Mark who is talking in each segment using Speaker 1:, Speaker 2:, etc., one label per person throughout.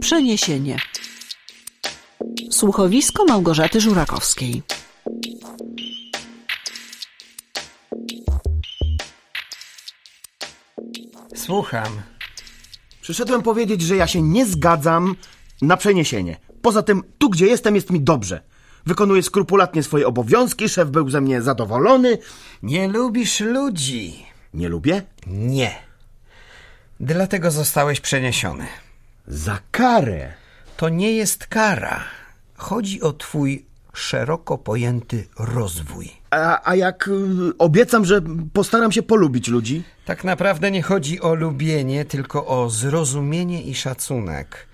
Speaker 1: Przeniesienie. Słuchowisko Małgorzaty Żurakowskiej.
Speaker 2: Słucham.
Speaker 3: Przyszedłem powiedzieć, że ja się nie zgadzam na przeniesienie. Poza tym, tu gdzie jestem, jest mi dobrze. Wykonuję skrupulatnie swoje obowiązki, szef był ze mnie zadowolony.
Speaker 2: Nie lubisz ludzi.
Speaker 3: Nie lubię?
Speaker 2: Nie. Dlatego zostałeś przeniesiony.
Speaker 3: Za karę.
Speaker 2: To nie jest kara. Chodzi o twój szeroko pojęty rozwój.
Speaker 3: A, a jak y, obiecam, że postaram się polubić ludzi?
Speaker 2: Tak naprawdę nie chodzi o lubienie, tylko o zrozumienie i szacunek.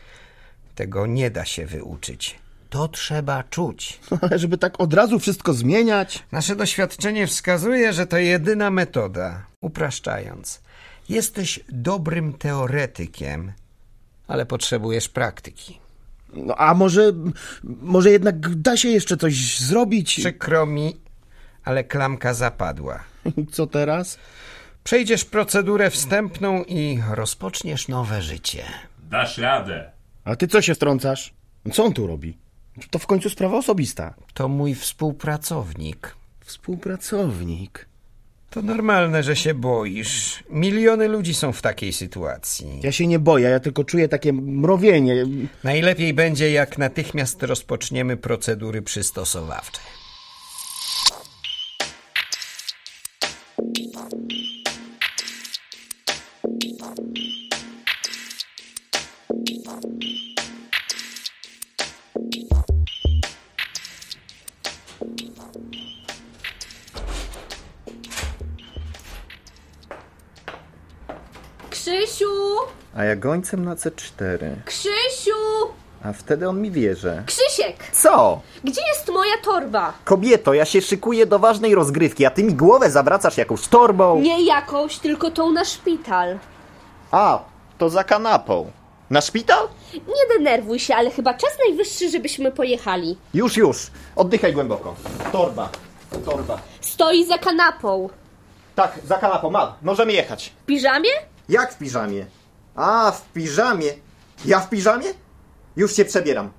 Speaker 2: Tego nie da się wyuczyć. To trzeba czuć.
Speaker 3: Ale żeby tak od razu wszystko zmieniać?
Speaker 2: Nasze doświadczenie wskazuje, że to jedyna metoda. Upraszczając, jesteś dobrym teoretykiem, ale potrzebujesz praktyki.
Speaker 3: No a może, może jednak da się jeszcze coś zrobić?
Speaker 2: Przykro mi, ale klamka zapadła.
Speaker 3: Co teraz?
Speaker 2: Przejdziesz procedurę wstępną i rozpoczniesz nowe życie.
Speaker 4: Dasz radę.
Speaker 3: A ty co się wtrącasz? Co on tu robi? To w końcu sprawa osobista.
Speaker 2: To mój współpracownik.
Speaker 3: Współpracownik.
Speaker 2: To normalne, że się boisz. Miliony ludzi są w takiej sytuacji.
Speaker 3: Ja się nie boję, ja tylko czuję takie mrowienie.
Speaker 2: Najlepiej będzie, jak natychmiast rozpoczniemy procedury przystosowawcze.
Speaker 5: Krzysiu!
Speaker 6: A ja gońcem na C4.
Speaker 5: Krzysiu!
Speaker 6: A wtedy on mi wierzy.
Speaker 5: Krzysiek!
Speaker 7: Co?
Speaker 5: Gdzie jest moja torba?
Speaker 7: Kobieto, ja się szykuję do ważnej rozgrywki, a ty mi głowę zawracasz jakąś torbą.
Speaker 5: Nie jakąś, tylko tą na szpital.
Speaker 7: A, to za kanapą. Na szpital?
Speaker 5: Nie denerwuj się, ale chyba czas najwyższy, żebyśmy pojechali.
Speaker 7: Już, już. Oddychaj głęboko. Torba. Torba.
Speaker 5: Stoi za kanapą.
Speaker 7: Tak, za kanapą, ma. Możemy jechać.
Speaker 5: W piżamie?
Speaker 7: Jak w piżamie? A, w piżamie. Ja w piżamie? Już się przebieram.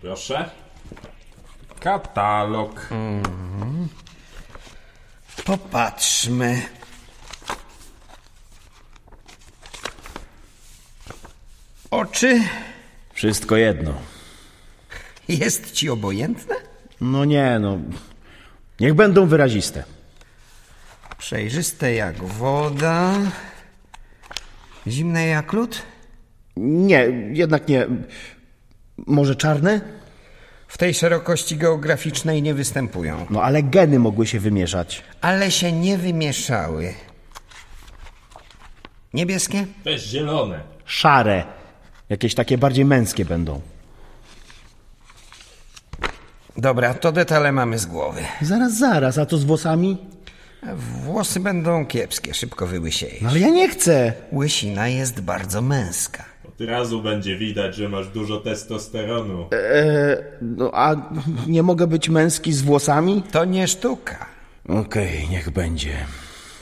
Speaker 4: Proszę. Katalog.
Speaker 2: Popatrzmy. Oczy
Speaker 8: Wszystko jedno.
Speaker 2: jest ci obojętne?
Speaker 3: No nie, no. Niech będą wyraziste.
Speaker 2: Przejrzyste jak woda. Zimne jak lód.
Speaker 3: Nie, jednak nie. Może czarne?
Speaker 2: W tej szerokości geograficznej nie występują,
Speaker 3: No ale geny mogły się wymieszać.
Speaker 2: ale się nie wymieszały. Niebieskie?
Speaker 4: Też zielone.
Speaker 3: Szare. Jakieś takie bardziej męskie będą.
Speaker 2: Dobra, to detale mamy z głowy.
Speaker 3: Zaraz, zaraz, a co z włosami?
Speaker 2: Włosy będą kiepskie, szybko wyłysieje.
Speaker 3: No ale ja nie chcę.
Speaker 2: Łysina jest bardzo męska.
Speaker 4: Od razu będzie widać, że masz dużo testosteronu.
Speaker 3: No a nie mogę być męski z włosami?
Speaker 2: To nie sztuka.
Speaker 8: Okej, niech będzie.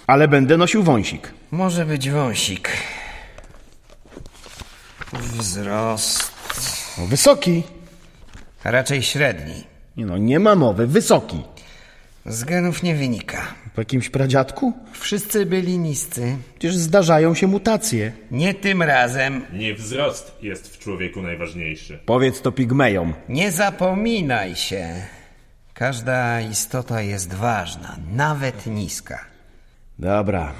Speaker 3: Ale będę nosił wąsik.
Speaker 2: Może być wąsik. Wzrost.
Speaker 3: No, wysoki.
Speaker 2: Raczej średni.
Speaker 3: Nie no, nie ma mowy, wysoki.
Speaker 2: Z genów nie wynika.
Speaker 3: W jakimś pradziadku?
Speaker 2: Wszyscy byli niscy.
Speaker 3: Przecież zdarzają się mutacje.
Speaker 2: Nie tym razem.
Speaker 4: Nie wzrost jest w człowieku najważniejszy.
Speaker 8: Powiedz to pigmejom.
Speaker 2: Nie zapominaj się. Każda istota jest ważna, nawet niska.
Speaker 3: Dobra.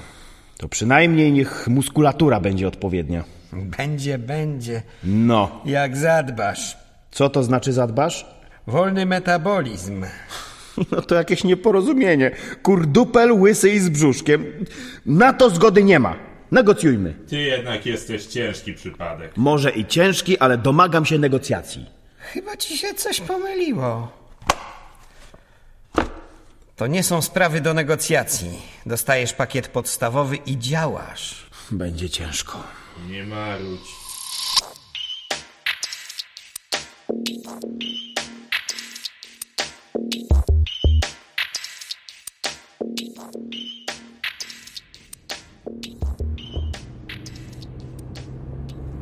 Speaker 3: To przynajmniej niech muskulatura będzie odpowiednia.
Speaker 2: Będzie, będzie.
Speaker 3: No.
Speaker 2: Jak zadbasz.
Speaker 3: Co to znaczy zadbasz?
Speaker 2: Wolny metabolizm.
Speaker 3: No to jakieś nieporozumienie. Kurdupel łysy i z brzuszkiem. Na to zgody nie ma. Negocjujmy.
Speaker 4: Ty jednak jesteś ciężki przypadek.
Speaker 3: Może i ciężki, ale domagam się negocjacji.
Speaker 2: Chyba ci się coś pomyliło. To nie są sprawy do negocjacji. Dostajesz pakiet podstawowy i działasz.
Speaker 8: Będzie ciężko.
Speaker 4: Nie marudź.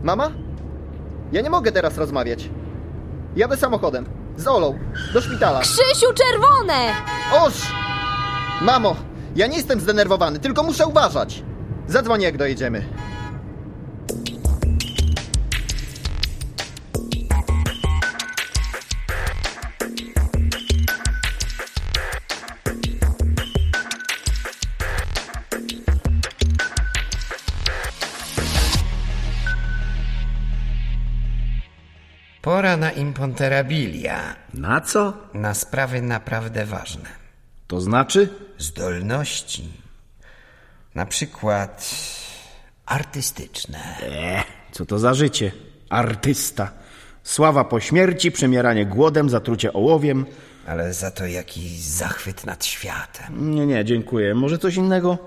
Speaker 7: Mama? Ja nie mogę teraz rozmawiać. Jadę samochodem. Z Olą. Do szpitala.
Speaker 5: Krzysiu, czerwone!
Speaker 7: Oż! Mamo, ja nie jestem zdenerwowany, tylko muszę uważać. Zadzwonię jak dojedziemy.
Speaker 2: Pora na imponterabilia,
Speaker 8: Na co?
Speaker 2: na sprawy naprawdę ważne.
Speaker 8: To znaczy?
Speaker 2: Zdolności, na przykład artystyczne.
Speaker 3: E, co to za życie? Artysta. Sława po śmierci, przemieranie głodem, zatrucie ołowiem.
Speaker 2: Ale za to jaki zachwyt nad światem.
Speaker 3: Nie, nie, dziękuję. Może coś innego?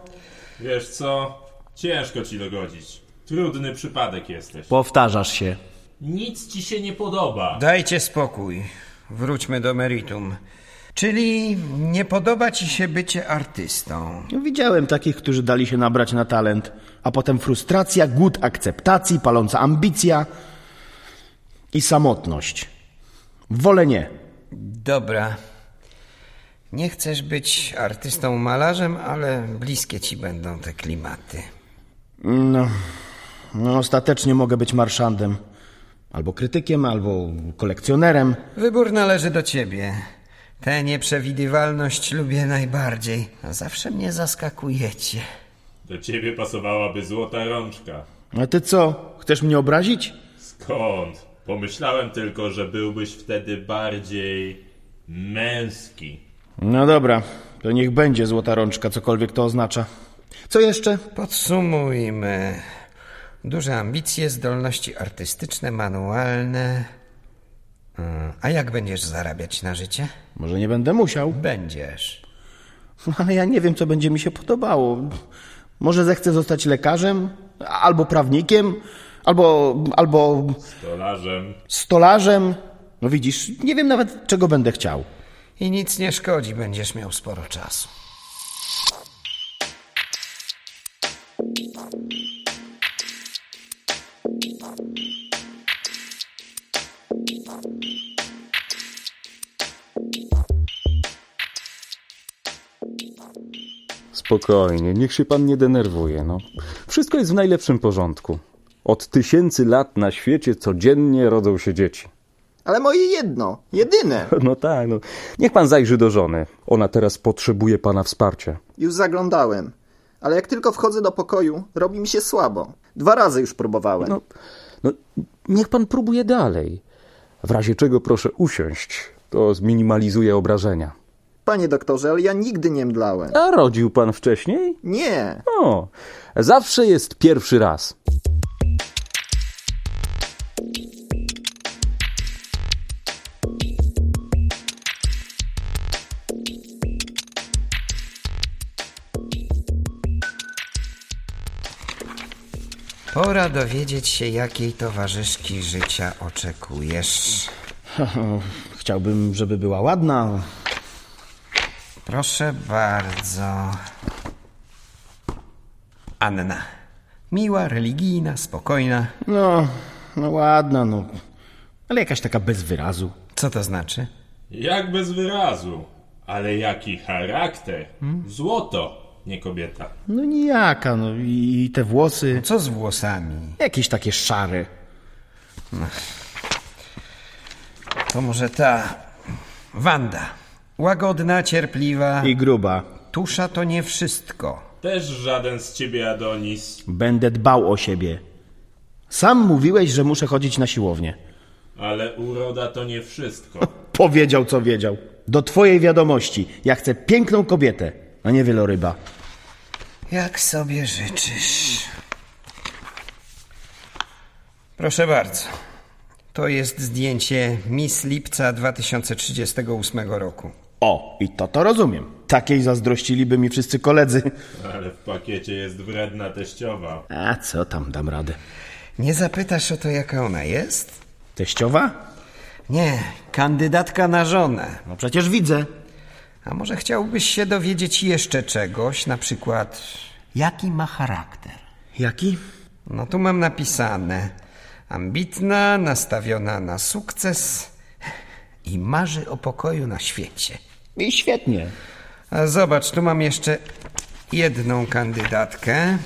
Speaker 4: Wiesz co? Ciężko ci dogodzić. Trudny przypadek jesteś.
Speaker 8: Powtarzasz się.
Speaker 4: Nic ci się nie podoba.
Speaker 2: Dajcie spokój. Wróćmy do meritum. Czyli nie podoba ci się bycie artystą.
Speaker 3: No, Widziałem takich, którzy dali się nabrać na talent, a potem frustracja, głód akceptacji, paląca ambicja i samotność. Wolę nie.
Speaker 2: Dobra. Nie chcesz być artystą malarzem, ale bliskie ci będą te klimaty.
Speaker 3: No, no, ostatecznie mogę być marszandem. Albo krytykiem, albo kolekcjonerem.
Speaker 2: Wybór należy do ciebie. Tę nieprzewidywalność lubię najbardziej. A Zawsze mnie zaskakujecie.
Speaker 4: Do ciebie pasowałaby złota rączka.
Speaker 3: A ty co? Chcesz mnie obrazić?
Speaker 4: Skąd? Pomyślałem tylko, że byłbyś wtedy bardziej męski.
Speaker 3: No dobra, to niech będzie złota rączka, cokolwiek to oznacza. Co jeszcze?
Speaker 2: Podsumujmy. Duże ambicje, zdolności artystyczne, manualne. Mm, A jak będziesz zarabiać na życie?
Speaker 3: Może nie będę musiał,
Speaker 2: Będziesz.
Speaker 3: No, ale ja nie wiem, co będzie mi się podobało. Może zechcę zostać lekarzem, albo prawnikiem, albo, albo
Speaker 4: Dolarzem.
Speaker 3: stolarzem. No widzisz, nie wiem nawet, czego będę chciał.
Speaker 2: I nic nie szkodzi, będziesz miał sporo czasu.
Speaker 9: Spokojnie, niech się pan nie denerwuje, no. Wszystko jest w najlepszym porządku. Od tysięcy lat na świecie codziennie rodzą się dzieci.
Speaker 7: Ale moje jedno, jedyne.
Speaker 9: No tak, no. Niech pan zajrzy do żony. Ona teraz potrzebuje pana wsparcia.
Speaker 7: Już zaglądałem. Ale jak tylko wchodzę do pokoju, robi mi się słabo. Dwa razy już próbowałem.
Speaker 9: No, no niech pan próbuje dalej. W razie czego proszę usiąść. To zminimalizuje obrażenia.
Speaker 7: Panie doktorze, ale ja nigdy nie mdlałem.
Speaker 9: A rodził pan wcześniej?
Speaker 7: Nie.
Speaker 9: O, zawsze jest pierwszy raz.
Speaker 2: Pora dowiedzieć się, jakiej towarzyszki życia oczekujesz.
Speaker 3: Chciałbym, żeby była ładna.
Speaker 2: Proszę bardzo. Anna. Miła, religijna, spokojna.
Speaker 3: No, no ładna, no. Ale jakaś taka bez wyrazu.
Speaker 2: Co to znaczy?
Speaker 4: Jak bez wyrazu. Ale jaki charakter. Złoto, nie kobieta.
Speaker 3: No nijaka, no i i te włosy.
Speaker 2: Co z włosami?
Speaker 3: Jakieś takie szare.
Speaker 2: To może ta. Wanda. Łagodna, cierpliwa.
Speaker 3: I gruba.
Speaker 2: Tusza to nie wszystko.
Speaker 4: Też żaden z ciebie Adonis.
Speaker 3: Będę dbał o siebie. Sam mówiłeś, że muszę chodzić na siłownię.
Speaker 4: Ale uroda to nie wszystko.
Speaker 3: Powiedział, co wiedział. Do twojej wiadomości. Ja chcę piękną kobietę, a nie wieloryba.
Speaker 2: Jak sobie życzysz. Proszę bardzo. To jest zdjęcie Miss Lipca 2038 roku.
Speaker 3: O, i to to rozumiem. Takiej zazdrościliby mi wszyscy koledzy.
Speaker 4: Ale w pakiecie jest wredna teściowa.
Speaker 3: A co tam dam radę?
Speaker 2: Nie zapytasz o to, jaka ona jest?
Speaker 3: Teściowa?
Speaker 2: Nie, kandydatka na żonę.
Speaker 3: No przecież widzę.
Speaker 2: A może chciałbyś się dowiedzieć jeszcze czegoś, na przykład jaki ma charakter?
Speaker 3: Jaki?
Speaker 2: No tu mam napisane. Ambitna, nastawiona na sukces i marzy o pokoju na świecie.
Speaker 3: I świetnie.
Speaker 2: A zobacz, tu mam jeszcze jedną kandydatkę.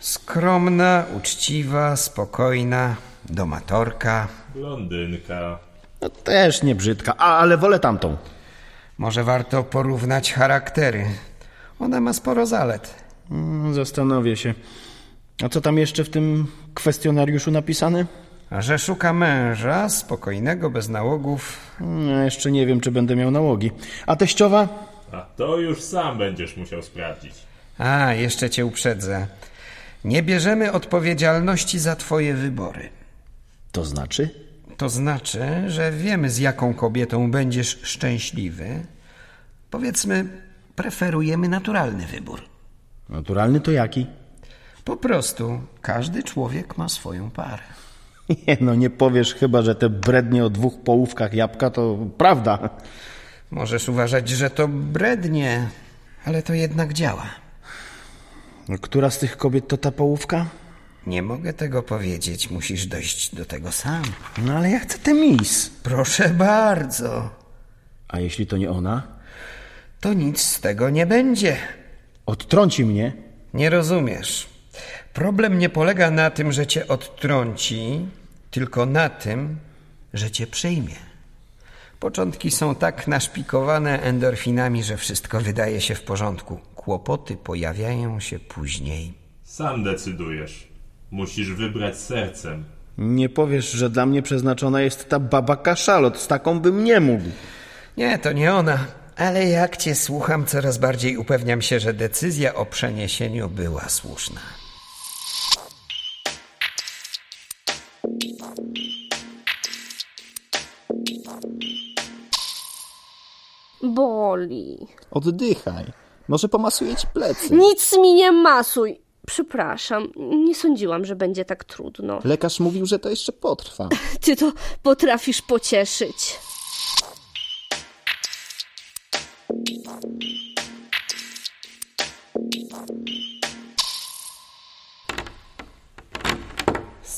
Speaker 2: Skromna, uczciwa, spokojna, domatorka.
Speaker 4: Blondynka.
Speaker 3: No też nie brzydka, a, ale wolę tamtą.
Speaker 2: Może warto porównać charaktery. Ona ma sporo zalet.
Speaker 3: Mm, Zastanowię się. A co tam jeszcze w tym kwestionariuszu napisane?
Speaker 2: A że szuka męża, spokojnego, bez nałogów,
Speaker 3: Mm, Ja jeszcze nie wiem, czy będę miał nałogi. A teściowa?
Speaker 4: A to już sam będziesz musiał sprawdzić.
Speaker 2: A, jeszcze cię uprzedzę. Nie bierzemy odpowiedzialności za twoje wybory.
Speaker 3: To znaczy?
Speaker 2: To znaczy, że wiemy z jaką kobietą będziesz szczęśliwy. Powiedzmy, preferujemy naturalny wybór.
Speaker 3: Naturalny to jaki?
Speaker 2: Po prostu każdy człowiek ma swoją parę.
Speaker 3: Nie, no nie powiesz chyba, że te brednie o dwóch połówkach jabłka to prawda.
Speaker 2: Możesz uważać, że to brednie, ale to jednak działa.
Speaker 3: No, Która z tych kobiet to ta połówka?
Speaker 2: Nie mogę tego powiedzieć, musisz dojść do tego sam.
Speaker 3: No ale ja chcę tę mis.
Speaker 2: Proszę bardzo,
Speaker 3: A jeśli to nie ona?
Speaker 2: to nic z tego nie będzie.
Speaker 3: Odtrąci mnie.
Speaker 2: Nie rozumiesz. Problem nie polega na tym, że cię odtrąci, tylko na tym, że cię przyjmie. Początki są tak naszpikowane endorfinami, że wszystko wydaje się w porządku. Kłopoty pojawiają się później.
Speaker 4: Sam decydujesz. Musisz wybrać sercem.
Speaker 3: Nie powiesz, że dla mnie przeznaczona jest ta baba kaszalot. Z taką bym nie mógł.
Speaker 2: Nie, to nie ona. Ale jak cię słucham, coraz bardziej upewniam się, że decyzja o przeniesieniu była słuszna.
Speaker 5: Boli.
Speaker 6: Oddychaj. Może pomasuje ci plecy.
Speaker 5: Nic mi nie masuj. Przepraszam, nie sądziłam, że będzie tak trudno.
Speaker 6: Lekarz mówił, że to jeszcze potrwa.
Speaker 5: Ty to potrafisz pocieszyć.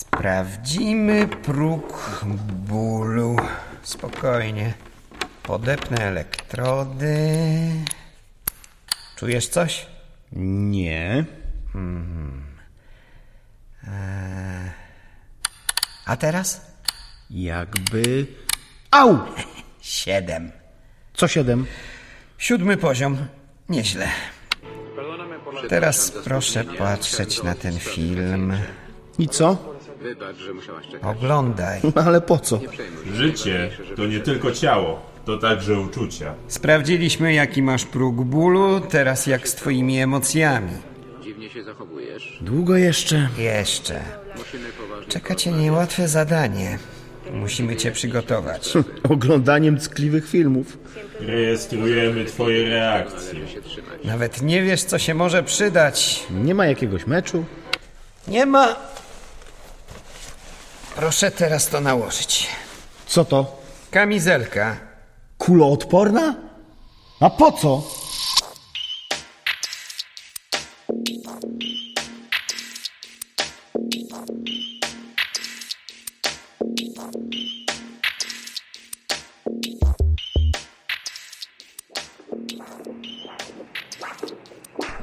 Speaker 2: Sprawdzimy próg bólu. Spokojnie. Podepnę elektrody. Czujesz coś?
Speaker 3: Nie.
Speaker 2: A teraz?
Speaker 3: Jakby. Au!
Speaker 2: Siedem.
Speaker 3: Co siedem?
Speaker 2: Siódmy poziom. Nieźle. Teraz proszę patrzeć na ten film.
Speaker 3: I co?
Speaker 2: Oglądaj.
Speaker 3: No ale po co?
Speaker 4: Życie to nie tylko ciało, to także uczucia.
Speaker 2: Sprawdziliśmy, jaki masz próg bólu, teraz jak z twoimi emocjami.
Speaker 3: Długo jeszcze.
Speaker 2: Jeszcze. Czeka cię niełatwe zadanie. Musimy cię przygotować.
Speaker 3: Oglądaniem ckliwych filmów.
Speaker 4: Rejestrujemy twoje reakcje.
Speaker 2: Nawet nie wiesz, co się może przydać.
Speaker 3: Nie ma jakiegoś meczu.
Speaker 2: Nie ma. Proszę teraz to nałożyć.
Speaker 3: Co to?
Speaker 2: Kamizelka.
Speaker 3: Kuloodporna? A po co?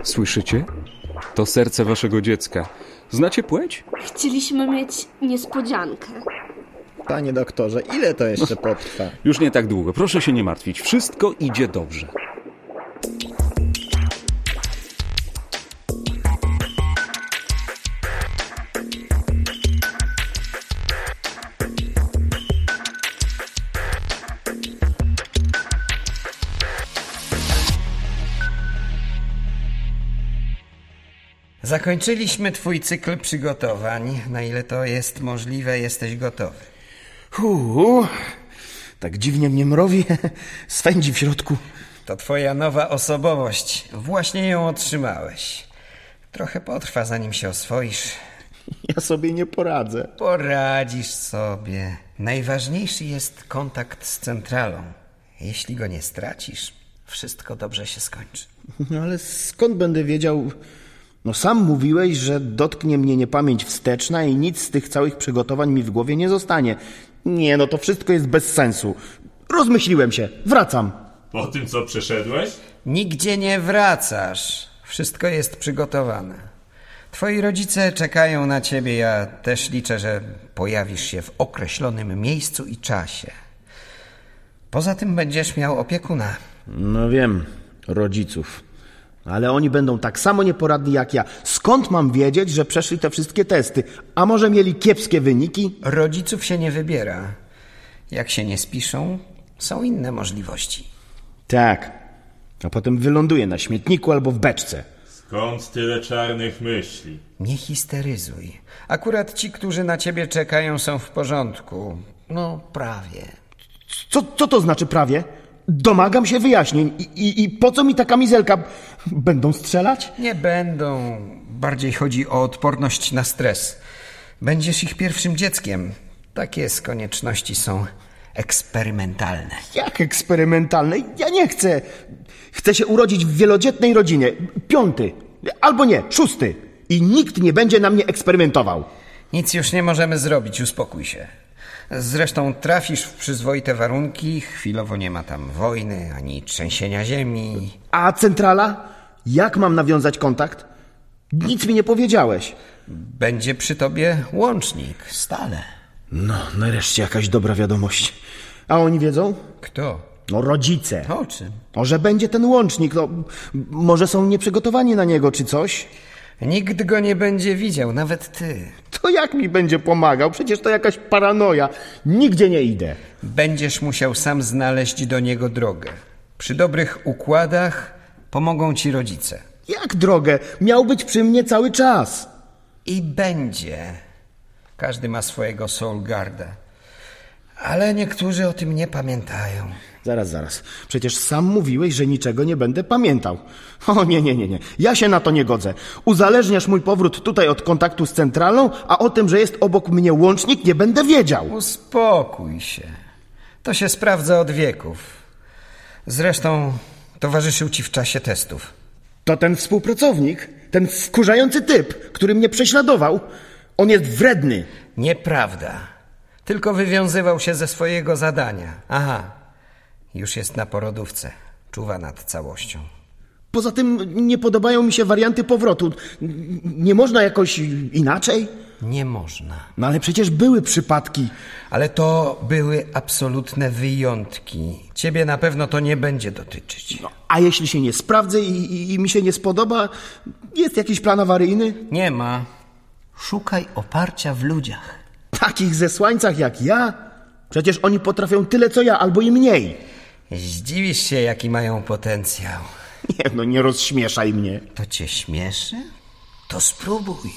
Speaker 9: Słyszycie? To serce waszego dziecka. Znacie płeć?
Speaker 5: Chcieliśmy mieć niespodziankę.
Speaker 6: Panie doktorze, ile to jeszcze potrwa?
Speaker 9: Już nie tak długo. Proszę się nie martwić. Wszystko idzie dobrze.
Speaker 2: Zakończyliśmy twój cykl przygotowań. Na ile to jest możliwe, jesteś gotowy.
Speaker 3: Huu, tak dziwnie mnie mrowi. Swędzi w środku.
Speaker 2: To twoja nowa osobowość. Właśnie ją otrzymałeś. Trochę potrwa, zanim się oswoisz.
Speaker 6: Ja sobie nie poradzę.
Speaker 2: Poradzisz sobie. Najważniejszy jest kontakt z centralą. Jeśli go nie stracisz, wszystko dobrze się skończy.
Speaker 3: No ale skąd będę wiedział? No sam mówiłeś, że dotknie mnie niepamięć wsteczna i nic z tych całych przygotowań mi w głowie nie zostanie. Nie, no to wszystko jest bez sensu. Rozmyśliłem się. Wracam.
Speaker 4: Po tym, co przeszedłeś?
Speaker 2: Nigdzie nie wracasz. Wszystko jest przygotowane. Twoi rodzice czekają na ciebie. Ja też liczę, że pojawisz się w określonym miejscu i czasie. Poza tym będziesz miał opiekuna.
Speaker 3: No wiem, rodziców. Ale oni będą tak samo nieporadni jak ja. Skąd mam wiedzieć, że przeszli te wszystkie testy? A może mieli kiepskie wyniki?
Speaker 2: Rodziców się nie wybiera. Jak się nie spiszą, są inne możliwości.
Speaker 3: Tak. A potem wyląduję na śmietniku albo w beczce.
Speaker 4: Skąd tyle czarnych myśli?
Speaker 2: Nie histeryzuj. Akurat ci, którzy na ciebie czekają, są w porządku. No, prawie.
Speaker 3: Co, co to znaczy prawie? Domagam się wyjaśnień. I, i, I po co mi ta kamizelka? Będą strzelać?
Speaker 2: Nie będą. Bardziej chodzi o odporność na stres. Będziesz ich pierwszym dzieckiem. Takie z konieczności są eksperymentalne.
Speaker 3: Jak eksperymentalne? Ja nie chcę. Chcę się urodzić w wielodzietnej rodzinie. Piąty. Albo nie, szósty. I nikt nie będzie na mnie eksperymentował.
Speaker 2: Nic już nie możemy zrobić, uspokój się. Zresztą trafisz w przyzwoite warunki, chwilowo nie ma tam wojny ani trzęsienia ziemi.
Speaker 3: A centrala? Jak mam nawiązać kontakt? Nic mi nie powiedziałeś.
Speaker 2: Będzie przy tobie łącznik, stale.
Speaker 3: No, nareszcie jakaś dobra wiadomość. A oni wiedzą?
Speaker 2: Kto?
Speaker 3: No, rodzice.
Speaker 2: O czym?
Speaker 3: No, że będzie ten łącznik. No, m- może są nieprzygotowani na niego czy coś?
Speaker 2: Nikt go nie będzie widział, nawet ty.
Speaker 3: To jak mi będzie pomagał? Przecież to jakaś paranoja. Nigdzie nie idę.
Speaker 2: Będziesz musiał sam znaleźć do niego drogę. Przy dobrych układach pomogą ci rodzice.
Speaker 3: Jak drogę? Miał być przy mnie cały czas.
Speaker 2: I będzie. Każdy ma swojego soul guarda. Ale niektórzy o tym nie pamiętają.
Speaker 3: Zaraz, zaraz. Przecież sam mówiłeś, że niczego nie będę pamiętał. O nie, nie, nie, nie. Ja się na to nie godzę. Uzależniasz mój powrót tutaj od kontaktu z centralną, a o tym, że jest obok mnie łącznik, nie będę wiedział.
Speaker 2: Uspokój się. To się sprawdza od wieków. Zresztą towarzyszył ci w czasie testów.
Speaker 3: To ten współpracownik, ten wkurzający typ, który mnie prześladował. On jest wredny.
Speaker 2: Nieprawda. Tylko wywiązywał się ze swojego zadania. Aha. Już jest na porodówce. Czuwa nad całością.
Speaker 3: Poza tym nie podobają mi się warianty powrotu. N- Nie można jakoś inaczej?
Speaker 2: Nie można.
Speaker 3: No ale przecież były przypadki.
Speaker 2: Ale to były absolutne wyjątki. Ciebie na pewno to nie będzie dotyczyć.
Speaker 3: A jeśli się nie sprawdzę i, i, i mi się nie spodoba, jest jakiś plan awaryjny?
Speaker 2: Nie ma. Szukaj oparcia w ludziach.
Speaker 3: Takich zesłańcach jak ja? Przecież oni potrafią tyle co ja, albo i mniej.
Speaker 2: Zdziwisz się, jaki mają potencjał.
Speaker 3: Nie, no nie rozśmieszaj mnie.
Speaker 2: To cię śmieszy? To spróbuj.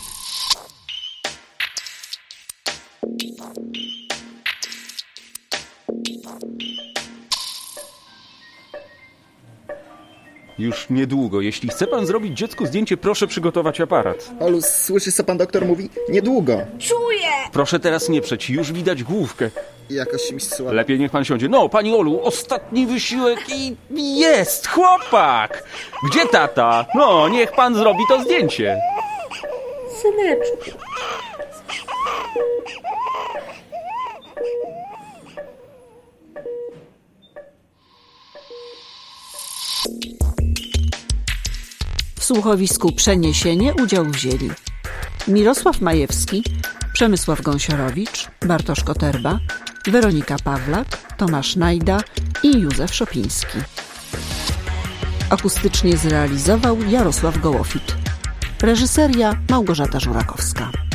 Speaker 9: Już niedługo. Jeśli chce pan zrobić dziecku zdjęcie, proszę przygotować aparat.
Speaker 6: Olu, słyszysz co pan doktor mówi? Niedługo.
Speaker 9: Proszę teraz nie przeć, już widać główkę.
Speaker 6: Jakoś mi słabo.
Speaker 9: Lepiej niech pan siądzie. No, pani Olu, ostatni wysiłek i jest chłopak! Gdzie tata? No, niech pan zrobi to zdjęcie.
Speaker 5: Syneczku.
Speaker 1: W słuchowisku Przeniesienie udział wzięli Mirosław Majewski, Przemysław Gąsiorowicz, Bartosz Koterba, Weronika Pawlak, Tomasz Najda i Józef Szopiński. Akustycznie zrealizował Jarosław Gołofit. Reżyseria Małgorzata Żurakowska.